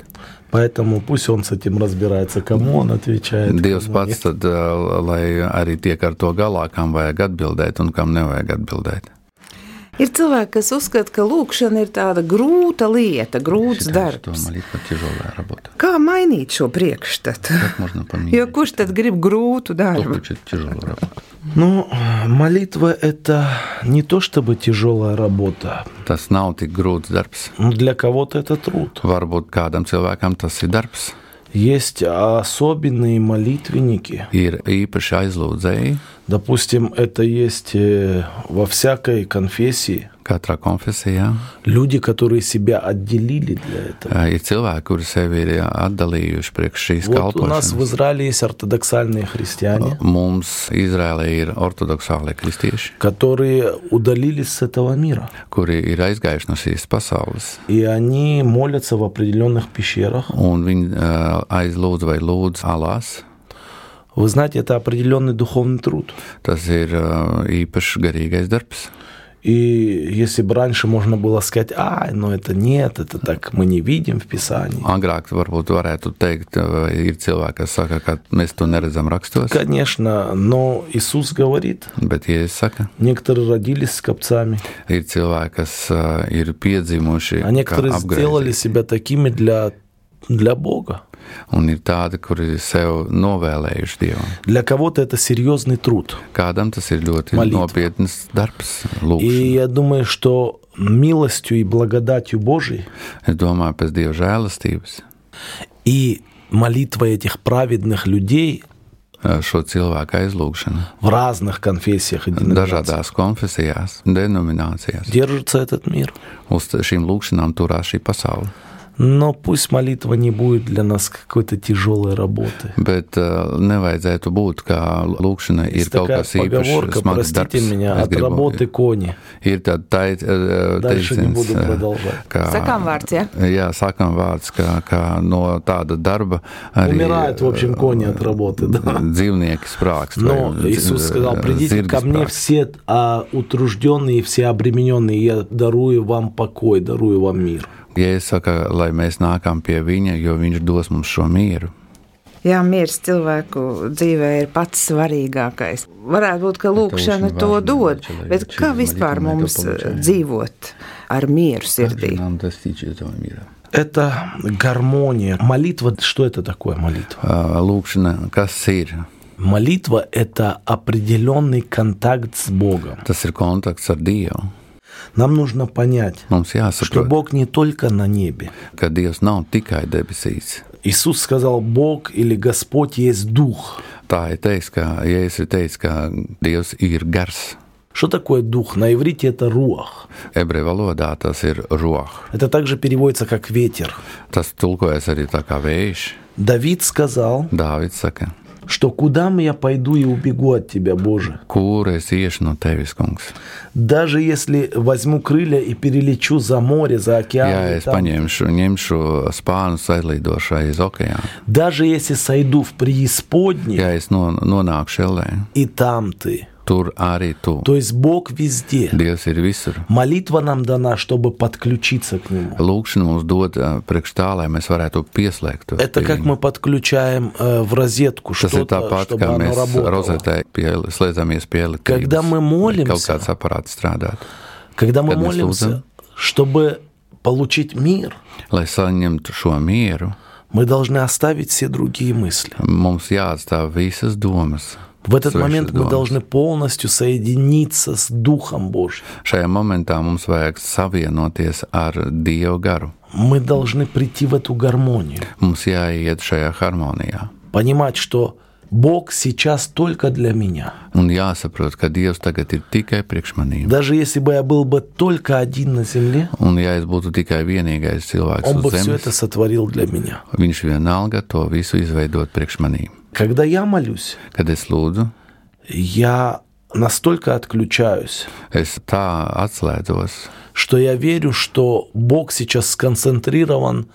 S3: Поэтому пусть он с этим разбирается, кому он отвечает.
S4: Dievs
S3: кому
S4: pats,
S3: нет.
S4: tad, uh, lai arī tiek ar to galā, kam vajag atbildēt un kam nevajag atbildēt.
S2: Ir cilvēki, kas uzskata, ka lūkšana ir tāda grūta lieta, grūts
S4: Это
S2: darbs.
S4: молитва тяжелая работа.
S2: Kā mainīt šo priekšstatu?
S4: Как можно поменять?
S2: Jo kurš tad grib grūtu darbu?
S4: Только чуть тяжелую работу.
S3: Ну, молитва это не то чтобы тяжелая работа.
S4: Tas nav tik grūts darbs.
S3: Ну, Для кого-то это труд.
S4: Varbūt kādam cilvēkam tas ir darbs.
S3: Есть особенные молитвенники.
S4: Ir īpaši aizlūdzēji
S3: Допустим, это есть э, во всякой конфессии.
S4: katrā konfesijā.
S3: Люди, которые себя отделили для этого.
S4: Ir cilvēki, kuri sevi ir atdalījuši priekš šīs
S3: Вот у нас в
S4: kalpošanas.
S3: Израиле есть ортодоксальные христиане,
S4: Mums Izrēlē ir ortodoksālie kristieši,
S3: которые удалились с этого мира.
S4: kuri ir aizgājuši no šīs pasaules.
S3: И они молятся в определенных пещерах.
S4: Un viņi ā, aizlūdz vai lūdz alās.
S3: Вы знаете, это определенный духовный труд.
S4: Tas ir ā, īpašs garīgais darbs.
S3: И если бы раньше можно было сказать, а, но это нет, это так мы не видим в Писании.
S4: Agrāk varbūt varētu teikt, vai ir cilvēki, kas saka, ka mēs to neredzam rakstos.
S3: Конечно, но Иисус говорит,
S4: Bet, ja es saku,
S3: некоторые родились с копцами,
S4: ir cilvēki, kas ā, ir piedzimuši,
S3: а
S4: kā
S3: некоторые сделали
S4: apgāzti,
S3: себя такими для, для Бога.
S4: un ir tādi, kuri sev novēlējuši dievam.
S3: Для кого-то это серьезный труд.
S4: Kādam tas ir ļoti
S3: Malītva.
S4: nopietns darbs,
S3: И
S4: lūkšana.
S3: я думаю, что милостью и благодатью Божией
S4: Es domāju, pēc dieva žēlastības
S3: и молитвой этих праведных людей
S4: ā, šo cilvēku aizlūgšana
S3: в разных конфессиях и деноминациях
S4: dažādās konfesijās, denominācijās.
S3: держится этот мир.
S4: Uz šīm lūkšanām turās šī pasaule.
S3: Но пусть молитва не будет для нас какой-то тяжелой работы.
S4: Bet uh, nevajadzētu būt, ka lūkšana ir
S3: Есть
S4: kaut
S3: такая
S4: kas īpašs,
S3: поговорка,
S4: smags
S3: простите
S4: darbs.
S3: меня,
S4: Es
S3: от
S4: gribu-
S3: работы кони.
S4: Ir tāda tai- eh,
S3: Дальше не буду
S4: teiciens, eh,
S3: продолжать.
S4: ka-
S2: Sakām vārds, jā.
S4: Jā, sākam vārds, ka, ka no tāda darba arī eh,
S3: Умирают, в общем, кони от работы, да.
S4: э, dzīvnieki sprākst.
S3: Но
S4: vai, eh,
S3: Иисус сказал,
S4: eh,
S3: придите
S4: zirgi
S3: ко мне
S4: sprākst.
S3: все а, утружденные, все обремененные, я дарую вам покой, дарую вам мир.
S4: Jēzus saka, lai mēs nākam pie viņa, jo viņš dos mums šo mieru.
S2: Jā, miers cilvēku dzīvē ir pats svarīgākais. Varētu būt, ka lūkšana
S4: очень
S2: to
S4: важно,
S2: dod,
S4: человек
S2: bet kā
S4: через
S2: vispār
S4: молитву
S2: mums eh,
S4: это получает.
S2: dzīvot ar mieru sirdī?
S4: Нам достичь этого мира.
S3: Это гармония. Молитва, что это такое молитва?
S4: Eh, Lūkšana, kas ir?
S3: Молитва – это определенный контакт с Богом.
S4: Tas ir kontakts ar Dievu.
S3: Нам нужно понять,
S4: Mums
S3: что
S4: jāsaprot,
S3: Бог не только на небе.
S4: ka Dievs nav tikai debesīs.
S3: Иисус сказал, Бог или Господь есть Дух.
S4: Tā ir teiks, ka Jēzus ir teicis, ka Dievs ir gars.
S3: Что такое Дух? На иврите это руах.
S4: Ebreju valodā tas ir roha.
S3: Это также переводится как ветер.
S4: Tas tulkojas arī tā kā vējš.
S3: Давид сказал,
S4: Dāvids saka,
S3: что куда мы я пойду и убегу от Тебя, Боже?
S4: kur es iešu no tevis, kungs?
S3: Даже если возьму крылья и перелечу за море, за океан,
S4: Jā,
S3: и
S4: es
S3: там-
S4: paņemšu, ņemšu spānus, aizlidošu aiz okeāna.
S3: даже если сойду в преисподнюю,
S4: Ja es no, nonākšu elē,
S3: и там Ты.
S4: tur arī tu.
S3: То есть Бог везде.
S4: Dievs ir visur.
S3: Молитва нам дана, чтобы подключиться к Нему.
S4: Lūkšana mums dod ā, priekš tā, lai mēs varētu pieslēgt.
S3: Это как мы подключаем э, в розетку
S4: Tas ir
S3: что-то,
S4: tāpat,
S3: чтобы
S4: kā
S3: оно
S4: mēs
S3: работало.
S4: rozetē pie, slēdzamies pie elektrības.
S3: Когда мы
S4: lai Kaut
S3: молимся-
S4: kāds aparāts strādāt,
S3: Когда мы
S4: Когда мы
S3: молимся,
S4: служим.
S3: чтобы получить мир,
S4: lai saņemtu šo mieru,
S3: мы должны оставить все другие мысли.
S4: mums jāatstāv visas domas.
S3: В этот
S4: Совершенно
S3: момент мы
S4: дома.
S3: должны полностью соединиться с Духом Божьим.
S4: Šajā momentā mums vajag savienoties ar Dieva garu.
S3: Мы должны прийти в эту гармонию,
S4: Mums jāiet šajā harmonijā.
S3: понимать, что Бог сейчас только для меня.
S4: Un jāsaprot, ka Dievs tagad ir tikai priekš manīm.
S3: Даже если бы я был бы только один на земле,
S4: Un ja es būtu tikai vienīgais cilvēks
S3: Он бы
S4: uz
S3: все это
S4: zemes,
S3: сотворил для меня.
S4: viņš vienalga to visu izveidot priekš manīm.
S3: Когда я молюсь,
S4: Kad es lūdzu,
S3: я настолько отключаюсь,
S4: es tā atslēdzos,
S3: что я верю, что Бог сейчас сконцентрирован,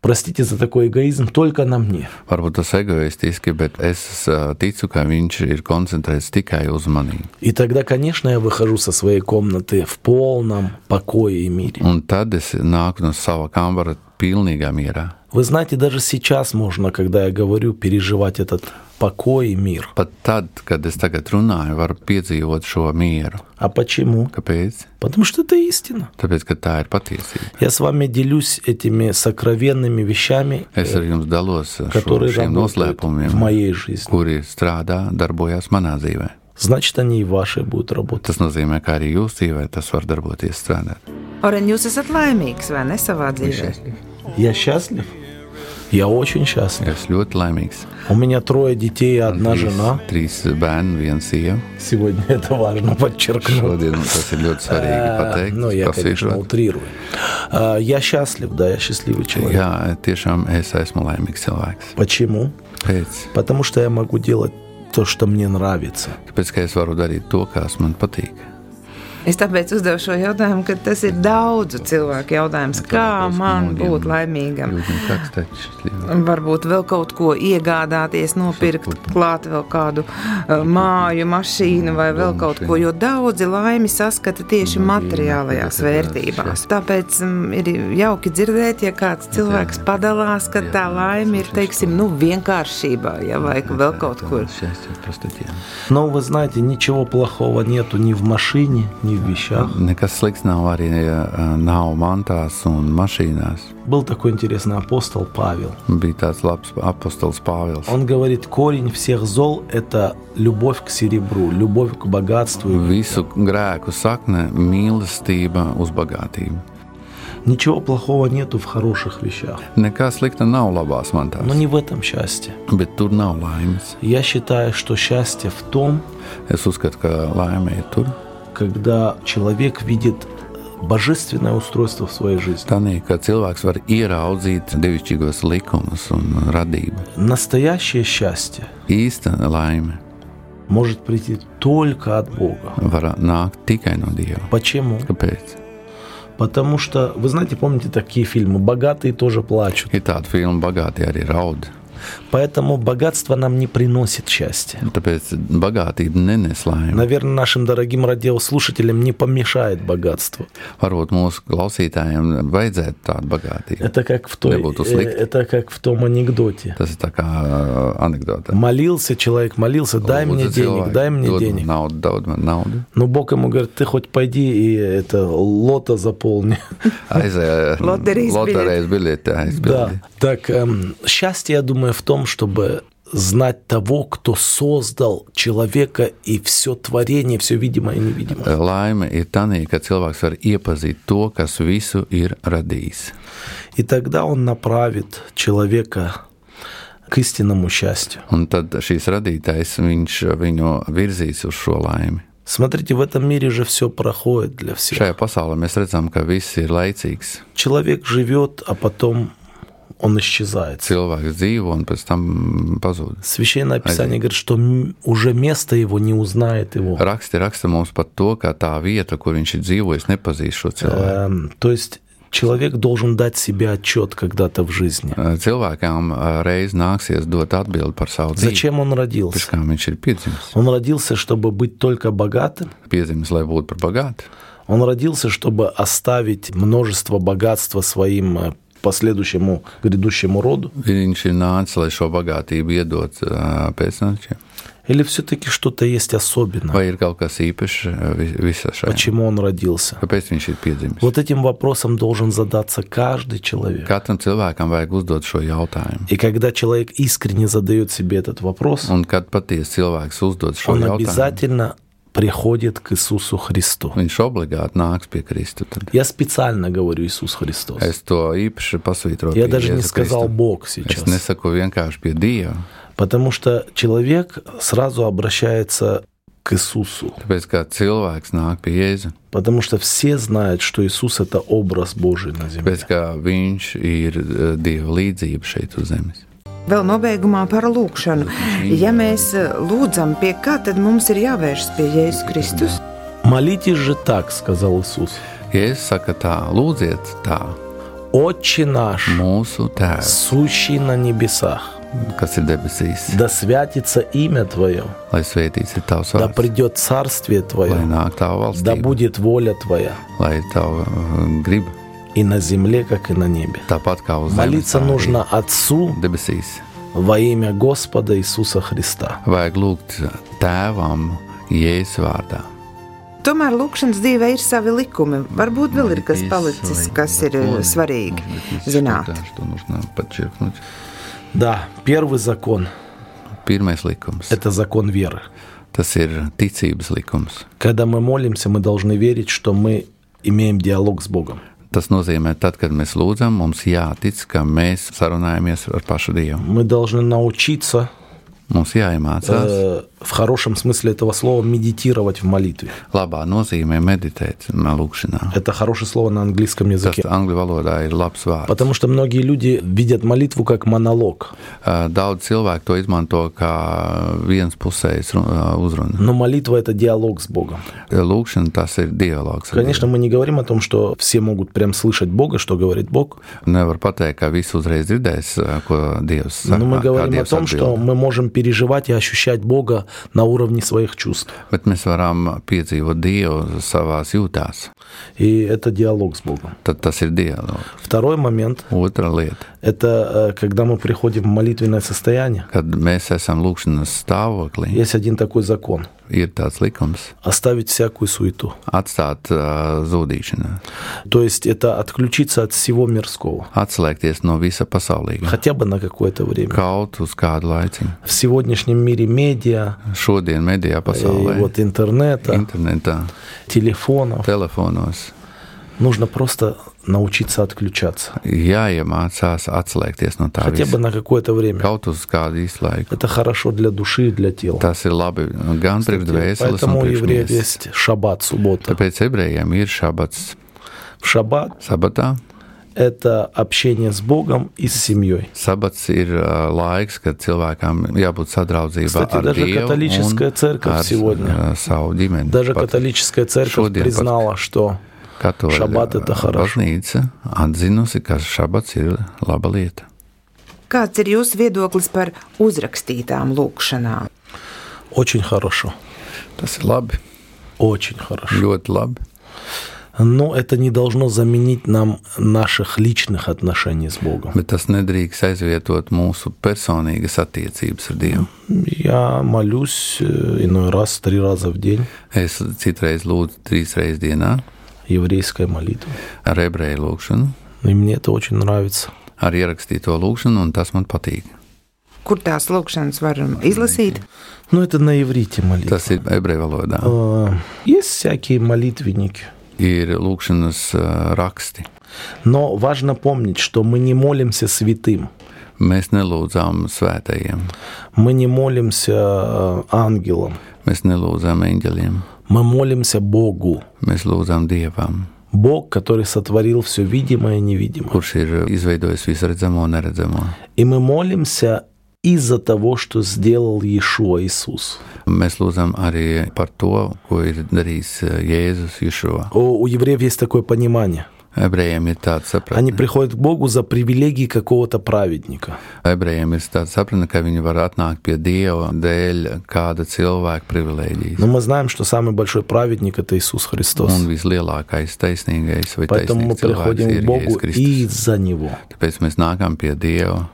S3: простите за такой эгоизм, только на мне.
S4: Varbūt tas ir egoistiski, bet es ā, ticu, ka viņš ir koncentrēts tikai uz mani.
S3: И тогда, конечно, я выхожу со своей комнаты в полном покое и мире.
S4: Un tad es nāku no sava kambara pilnīgā mierā.
S3: Вы знаете, даже сейчас можно, когда я говорю, переживать этот покой и мир.
S4: Pat tad, kad es tagad runāju, varu piedzīvot šo mieru.
S3: А почему?
S4: Kāpēc?
S3: Потому что это истина.
S4: Tāpēc, ka tā ir patiesība.
S3: Я с вами делюсь этими сокровенными вещами, э,
S4: Es ar jums dalos ar šo,
S3: которые
S4: šiem
S3: работают в
S4: noslēpumiem,
S3: моей жизни.
S4: kuri strādā, darbojās manā dzīvē.
S3: Значит, они и ваши будут работать.
S4: Tas nozīmē, ka arī jūs dzīvē tas var darboties strādāt.
S2: Oren, jūs esat laimīgs vai ne savā dzīvē?
S3: Я счастлив. Я очень счастлив.
S4: Es ļoti laimīgs.
S3: У меня трое детей и одна
S4: Trīs,
S3: жена.
S4: trīs bērni, viena sieva.
S3: Сегодня это важно подчеркнуть.
S4: Šodien tas ir ļoti svarīgi
S3: Э,
S4: pateikt.
S3: Ну, я, конечно,
S4: pasvītrot.
S3: утрирую. Э, Я счастлив, да, я счастливый человек.
S4: Jā, tiešām es esmu laimīgs cilvēks.
S3: Почему?
S4: Pēc,
S3: Потому что я могу делать то, что мне нравится.
S4: tāpēc, ka es varu darīt to, kas man patīk.
S2: Es tāpēc uzdevu šo jautājumu, ka tas ir daudzu cilvēku jautājums. Kā man būt laimīgam?
S4: Jūs esat tāds taču.
S2: Varbūt vēl kaut ko iegādāties, nopirkt klāt vēl kādu uh, māju, mašīnu vai vēl kaut ko, jo daudzi laimi saskata tieši materiālajās vērtībās. Tāpēc mm, ir jauki dzirdēt, ja kāds cilvēks padalās, ka tā laime ir, teiksim, nu, vienkāršībā, ja vai vēl kaut kur.
S3: Но вы знаете, ничего плохого нету ни в машине, ни в вещах.
S4: Nekas slikts nav arī ja, nav mantās un mašīnās.
S3: Был такой интересный апостол Павел.
S4: Bija tāds labs apostols Pāvils.
S3: Он говорит, корень всех зол – это любовь к серебру, любовь к богатству.
S4: Visu grēku sakne - mīlestība uz bagātību.
S3: Ничего плохого нету в хороших вещах.
S4: Nekā slikta nav labās
S3: Но
S4: mantās,
S3: не в этом счастье.
S4: bet tur nav laimes.
S3: Я считаю, что счастье в том,
S4: Es uzskatu, ka laime ir tur.
S3: когда человек видит божественное устройство в своей жизни.
S4: Tanī, ka cilvēks var ieraudzīt dievišķīgos likumus un radību.
S3: Настоящее счастье
S4: Īsta laime
S3: может прийти только от Бога.
S4: var nākt tikai no Dieva.
S3: Почему?
S4: Kāpēc?
S3: Потому что, вы знаете, помните такие фильмы, богатые тоже плачут.
S4: Ir tāda filma, bagātīgi arī raud.
S3: Поэтому богатство нам не приносит счастья.
S4: Tāpēc bagātība nenes laimi.
S3: Наверное, нашим дорогим радиослушателям не помешает богатство.
S4: Varbūt mūsu klausītājiem vajadzētu tādu bagātību.
S3: Это как в, той,
S4: Не буду
S3: э,
S4: слыть.
S3: это как в том анекдоте.
S4: Tas ir tā kā uh, anekdote.
S3: Молился человек, молился, дай мне
S4: Lūdzu,
S3: денег,
S4: cilvēki,
S3: дай мне
S4: dod man
S3: денег.
S4: Naudu, dod man naudu.
S3: Но Ну, Бог ему говорит, ты хоть пойди и это лото заполни.
S4: Aizēja
S2: Loterijas
S4: uh, loterijas biļete. aizpildi.
S3: Да. Так, эм, счастье, я думаю, в том, чтобы знать того, кто создал человека и все творение, все видимое и невидимое.
S4: Uh, Laime ir tā, ka cilvēks var iepazīt to, kas visu ir radījis.
S3: И тогда он направит человека к истинному счастью.
S4: Un tad šīs radītājs viņš viņu virzīs uz šo laimi.
S3: Смотрите, в этом мире же все проходит для всех.
S4: Šajā pasaulē mēs redzam, ka viss ir laicīgs.
S3: Человек живет, а потом он исчезает.
S4: Cilvēks dzīvo un pēc tam pazūd.
S3: Священное Писание говорит, что м- уже место его не узнает его.
S4: Raksti raksta mums par to, ka tā vieta, kur viņš ir dzīvojis, nepazīst šo cilvēku.
S3: Эм, То есть человек должен дать себе отчет когда-то в жизни.
S4: Cilvēkam ā, reiz nāksies dot atbildi par savu dzīvi.
S3: Зачем он
S4: Pēc
S3: родился?
S4: kā viņš ir piedzimis?
S3: Он родился, чтобы быть только богатым.
S4: Piedzimis, lai būtu par bagātu.
S3: Он родился, чтобы оставить множество богатства своим э, последующему грядущему роду.
S4: Viņš ir nācis, lai šo bagātību iedot uh, ā, pēcnācējiem.
S3: Или все-таки что-то есть особенное?
S4: Vai ir kaut kas īpašs ā, vi- visā šajā?
S3: Почему он родился?
S4: Kāpēc viņš ir piedzimis?
S3: Вот этим вопросом должен задаться каждый человек.
S4: Katram cilvēkam vajag uzdot šo jautājumu.
S3: И когда человек искренне задает себе этот вопрос,
S4: Un kad patiesi cilvēks uzdod šo
S3: он
S4: jautājumu,
S3: обязательно приходит к Иисусу Христу.
S4: viņš obligāti nāks pie Kristu. Tad.
S3: Я специально говорю Иисус Христос.
S4: Es to īpaši pasvītroju.
S3: Я
S4: pie
S3: даже не
S4: Jēzu
S3: сказал
S4: Kristu.
S3: Бог
S4: Es
S3: сейчас.
S4: nesaku vienkārši pie Dieva,
S3: Потому что человек сразу обращается к Иисусу.
S4: tāpēc kā cilvēks nāk pie Jēzus,
S3: Потому что все знают, что Иисус – это образ Божий на земле.
S4: tāpēc kā viņš ir eh, Dieva līdzība šeit uz zemes.
S2: Vēl nobeigumā par lūgšanu. Ja mēs eh, lūdzam pie kā, tad mums ir jāvēršas pie Jēzus Kristus.
S3: «Молитесь же так», – сказал Иисус.
S4: Jēzus saka tā, lūdziet tā,
S3: «Отче наш,
S4: mūsu Tēvs,
S3: сущий на небесах,
S4: kas ir debesīs,
S3: да святится имя Твое,
S4: lai svētīts ir tavs
S3: да
S4: vārds,
S3: придет царствие
S4: lai
S3: Твое,
S4: nāk tā
S3: да
S4: valsts,
S3: будет воля Твоя,
S4: lai tava eh, griba
S3: и на земле, как и на небе.
S4: Tāpat kā uz
S3: Молиться
S4: tā arī
S3: нужно Отцу
S4: debesīs.
S3: во имя Господа Иисуса Христа.
S4: Vajag lūgt tēvam Jēzus vārdā.
S2: Tomēr lūkšanas dzīvē ir savi likumi. Varbūt vēl ir kas palicis, kas ir eh, svarīgi zināt.
S3: Да, первый закон –
S4: Pirmais likums.
S3: это закон веры.
S4: Tas ir ticības likums.
S3: Когда мы молимся, мы должны верить, что мы имеем диалог с Богом.
S4: Tas nozīmē, tad, kad mēs lūdzam, mums jātic, ka mēs sarunājamies ar pašu Dievu.
S3: Мы должны научиться
S4: Mums jāiemācās
S3: э, в хорошем смысле этого слова медитировать в молитве.
S4: labā nozīmē meditēt, lūkšanā.
S3: Это хорошее слово на английском
S4: Tas
S3: языке.
S4: angļu valodā ir labs vārds.
S3: Потому что многие люди видят молитву как монолог,
S4: Daudz cilvēku to izmanto kā vienpusējas ru- uzrunu.
S3: но молитва это диалог с Богом.
S4: Lūkšana tas ir dialogs. ar
S3: Конечно, мы не говорим о том, что все могут прям слышать Бога, что говорит Бог,
S4: Dievu. Nevar pateikt, ka visi uzreiz dzirdēs, ā, ko Dievs saka.
S3: но мы
S4: kā
S3: говорим о
S4: Dievs
S3: том, что
S4: atbild.
S3: мы можем переживать и ощущать Бога на уровне своих чувств.
S4: Bet mēs varam piedzīvot Dievu savā jūtās.
S3: И это диалог с Богом.
S4: Tad tas ir dialogs.
S3: Второй момент
S4: Otra lieta.
S3: – это э, когда мы приходим в молитвенное состояние.
S4: Kad mēs esam lūkšanas stāvoklī,
S3: Есть один такой закон
S4: ir tāds likums
S3: – оставить всякую суету.
S4: atstāt eh, ā, zudīšanu,
S3: То есть это отключиться от всего мирского,
S4: atslēgties no visa pasaulīga.
S3: хотя бы на какое-то время.
S4: Kaut uz kādu laiku.
S3: В сегодняшнем мире медиа,
S4: Šodien medijā
S3: и
S4: pasaulē,
S3: вот интернета,
S4: internetā,
S3: телефонов.
S4: telefonos
S3: Нужно просто научиться отключаться.
S4: jāiemācās atslēgties no tā
S3: Хотя бы
S4: visa.
S3: на какое-то время.
S4: Kaut uz kādu īsu laiku.
S3: Это хорошо для души и для тела.
S4: Tas ir labi Nu, gan priekš dvēseles, gan
S3: Поэтому у
S4: priekš
S3: евреев
S4: miesas.
S3: есть шаббат, суббота.
S4: Tāpēc ebrejiem ir šabats
S3: В шаббат
S4: sabatā.
S3: это общение с Богом и с семьей.
S4: Sabats ir ā, laiks, kad cilvēkam jābūt sadraudzībā
S3: Кстати,
S4: ar
S3: даже
S4: Dievu
S3: католическая церковь
S4: ar
S3: сегодня.
S4: ā, savu ģimeni.
S3: Даже
S4: Pat
S3: католическая церковь
S4: Шоден,
S3: признала, что
S4: katoļu
S3: šabat ir tā хорошо.
S4: baznīca atzinusi, ka šabats ir laba lieta.
S2: Kāds ir jūsu viedoklis par uzrakstītām lūkšanām?
S3: очень хорошо,
S4: Tas ir labi,
S3: очень хорошо.
S4: ļoti labi.
S3: Но это не должно заменить нам наших личных отношений с Богом.
S4: Bet tas nedrīkst aizvietot mūsu personīgas attiecības ar Dievu.
S3: Я молюсь э, иной раз три раза в день
S4: Es citreiz lūdzu trīs reizes dienā
S3: еврейской молитвы.
S4: ar ebreju lūgšanu,
S3: И мне это очень нравится.
S4: ar ierakstīto lūgšanu, un tas man patīk.
S2: Kur tās lūkšanas varam izlasīt?
S3: Но это на иврите молитва.
S4: Tas ir ebreju valodā.
S3: Э, Есть всякие молитвенники.
S4: Ir lūgšanas ā, raksti.
S3: Но важно помнить, что мы не молимся святым,
S4: Mēs nelūdzām svētajiem,
S3: мы не молимся э, ангелам,
S4: mēs nelūdzām eņģeļiem,
S3: мы молимся Богу.
S4: mēs lūdzām dievam,
S3: Бог, который сотворил все видимое и невидимое.
S4: kurš ir izveidojis visredzamo un neredzamo.
S3: И мы молимся из-за того, что сделал Иешуа Иисус.
S4: Mēs lūdzam arī par to, ko ir darījis ā, Jēzus Jēzus.
S3: О, у евреев есть такое понимание.
S4: Ebrejiem ir tāds
S3: Они
S4: sapratne.
S3: приходят к Богу за привилегии какого-то праведника.
S4: Ebrejiem ir tāds sapratne, ka viņi var atnākt pie Dieva dēļ kāda cilvēka
S3: Но
S4: privilēģijas.
S3: мы знаем, что самый большой праведник – это Иисус Христос.
S4: Un vislielākais taisnīgais vai
S3: Поэтому мы
S4: taisnīgais cilvēks
S3: приходим к
S4: ir
S3: Богу
S4: Jēzus Kristus.
S3: из-за Него.
S4: Tāpēc mēs nākam pie Dieva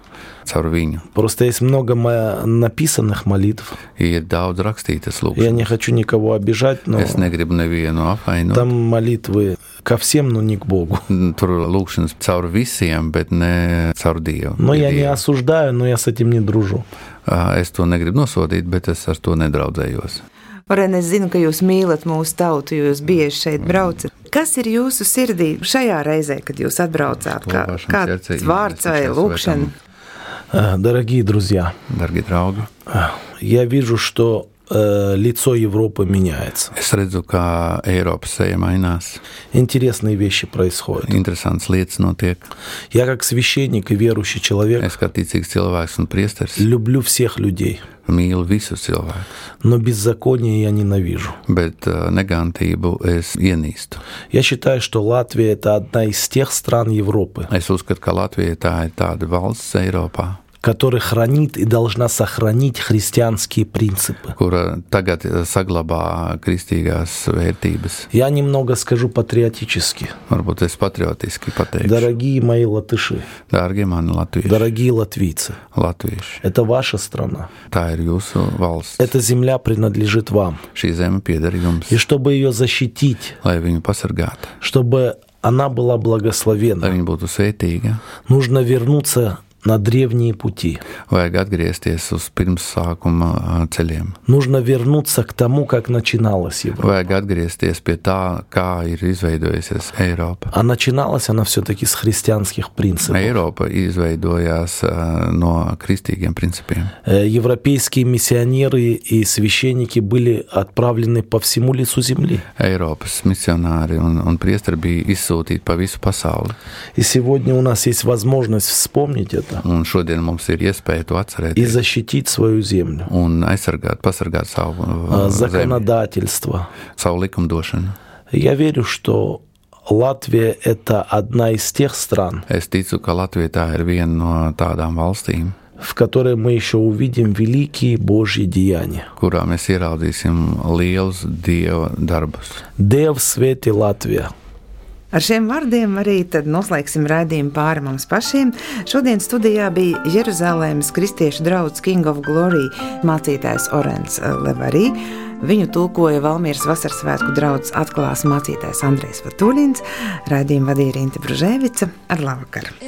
S4: caur viņu.
S3: Просто есть много мо- написанных молитв.
S4: Ir daudz rakstītas
S3: Я
S4: lūgšanas.
S3: не хочу никого обижать, но
S4: Es negribu nevienu apvainot.
S3: там молитвы ко всем, но не к Богу.
S4: Tur lūkšanas caur visiem, bet ne caur Dievu.
S3: Но
S4: Pie
S3: я не
S4: Dieva.
S3: осуждаю, но я с этим не дружу.
S4: Ā, es to negribu nosodīt, bet es ar to nedraudzējos.
S2: Varbūt es zinu, ka jūs mīlat mūsu tautu, jo jūs bieži šeit braucat. Kas ir jūsu sirdī šajā reizē, kad jūs atbraucāt? Kā,
S4: Lūkāšanas
S2: kāds
S4: ķerce,
S2: vārds vai
S4: investīcijas
S2: lūkšana?
S3: Э, Дорогие друзья, э,
S4: Dargi draugi,
S3: я вижу, что э, лицо Европы меняется.
S4: es redzu, kā Eiropas seja mainās.
S3: Интересные вещи происходят.
S4: Interesants lietas notiek.
S3: Я как священник и верующий человек
S4: Es kā ticīgs cilvēks un priesteris
S3: люблю всех людей,
S4: mīlu visus cilvēkus,
S3: но беззаконие я ненавижу.
S4: bet ā, negantību es ienīstu.
S3: Я считаю, что Латвия – это одна из тех стран Европы,
S4: Es uzskatu, ka Latvija tā ir tāda valsts Eiropā,
S3: которая хранит и должна сохранить христианские принципы.
S4: kura tagad eh, saglabā kristīgās vērtības.
S3: Я немного скажу патриотически.
S4: Varbūt es patriotiski pateikšu,
S3: Дорогие мои латыши,
S4: dārgie mani latvieši,
S3: дорогие латвийцы,
S4: latvieši,
S3: это ваша страна.
S4: tā ir jūsu valsts.
S3: Эта земля принадлежит вам.
S4: Šī zeme pieder jums,
S3: И чтобы ее защитить,
S4: lai viņu pasargātu,
S3: чтобы она была
S4: lai
S3: благословена,
S4: viņa būtu svētīga.
S3: нужно вернуться на древние пути.
S4: Vajag atgriezties uz pirmsākuma ā, ceļiem.
S3: Нужно вернуться к тому, как начиналась Европа.
S4: Vajag atgriezties pie tā, kā ir izveidojusies Eiropa.
S3: А начиналась она все-таки с христианских принципов.
S4: Eiropa izveidojās ā, no kristīgiem principiem.
S3: Э, Европейские миссионеры и священники были отправлены по всему лицу земли.
S4: Eiropas misionāri un, un priesteri bija izsūtīti pa visu pasauli.
S3: И сегодня у нас есть возможность вспомнить это
S4: Un šodien mums ir iespēja to
S3: и
S4: atcerēties
S3: защитить свою землю.
S4: un aizsargāt, pasargāt savu,
S3: Э,
S4: ā, zemi,
S3: Законодательство.
S4: savu likumdošanu.
S3: Я верю, что Латвия – это одна из тех стран,
S4: Es ticu, ka Latvija tā ir viena no tādām valstīm,
S3: в которой мы еще увидим великие Божьи деяния.
S4: kurā mēs ieraudzīsim lielus dieva darbus.
S3: Де в свете Латвия.
S2: Ar šiem vārdiem arī tad noslēgsim raidījumu pāri mums pašiem. Šodien studijā bija Jeruzalemes kristiešu draugs King of Glory mācītājs Orens Levarī. Viņu tulkoja Valmīras Vasarsvētku draugs atklās mācītājs Andrēs Vatuļins, raidījumu vadīja Rīta Bružēvica ar labvakaru.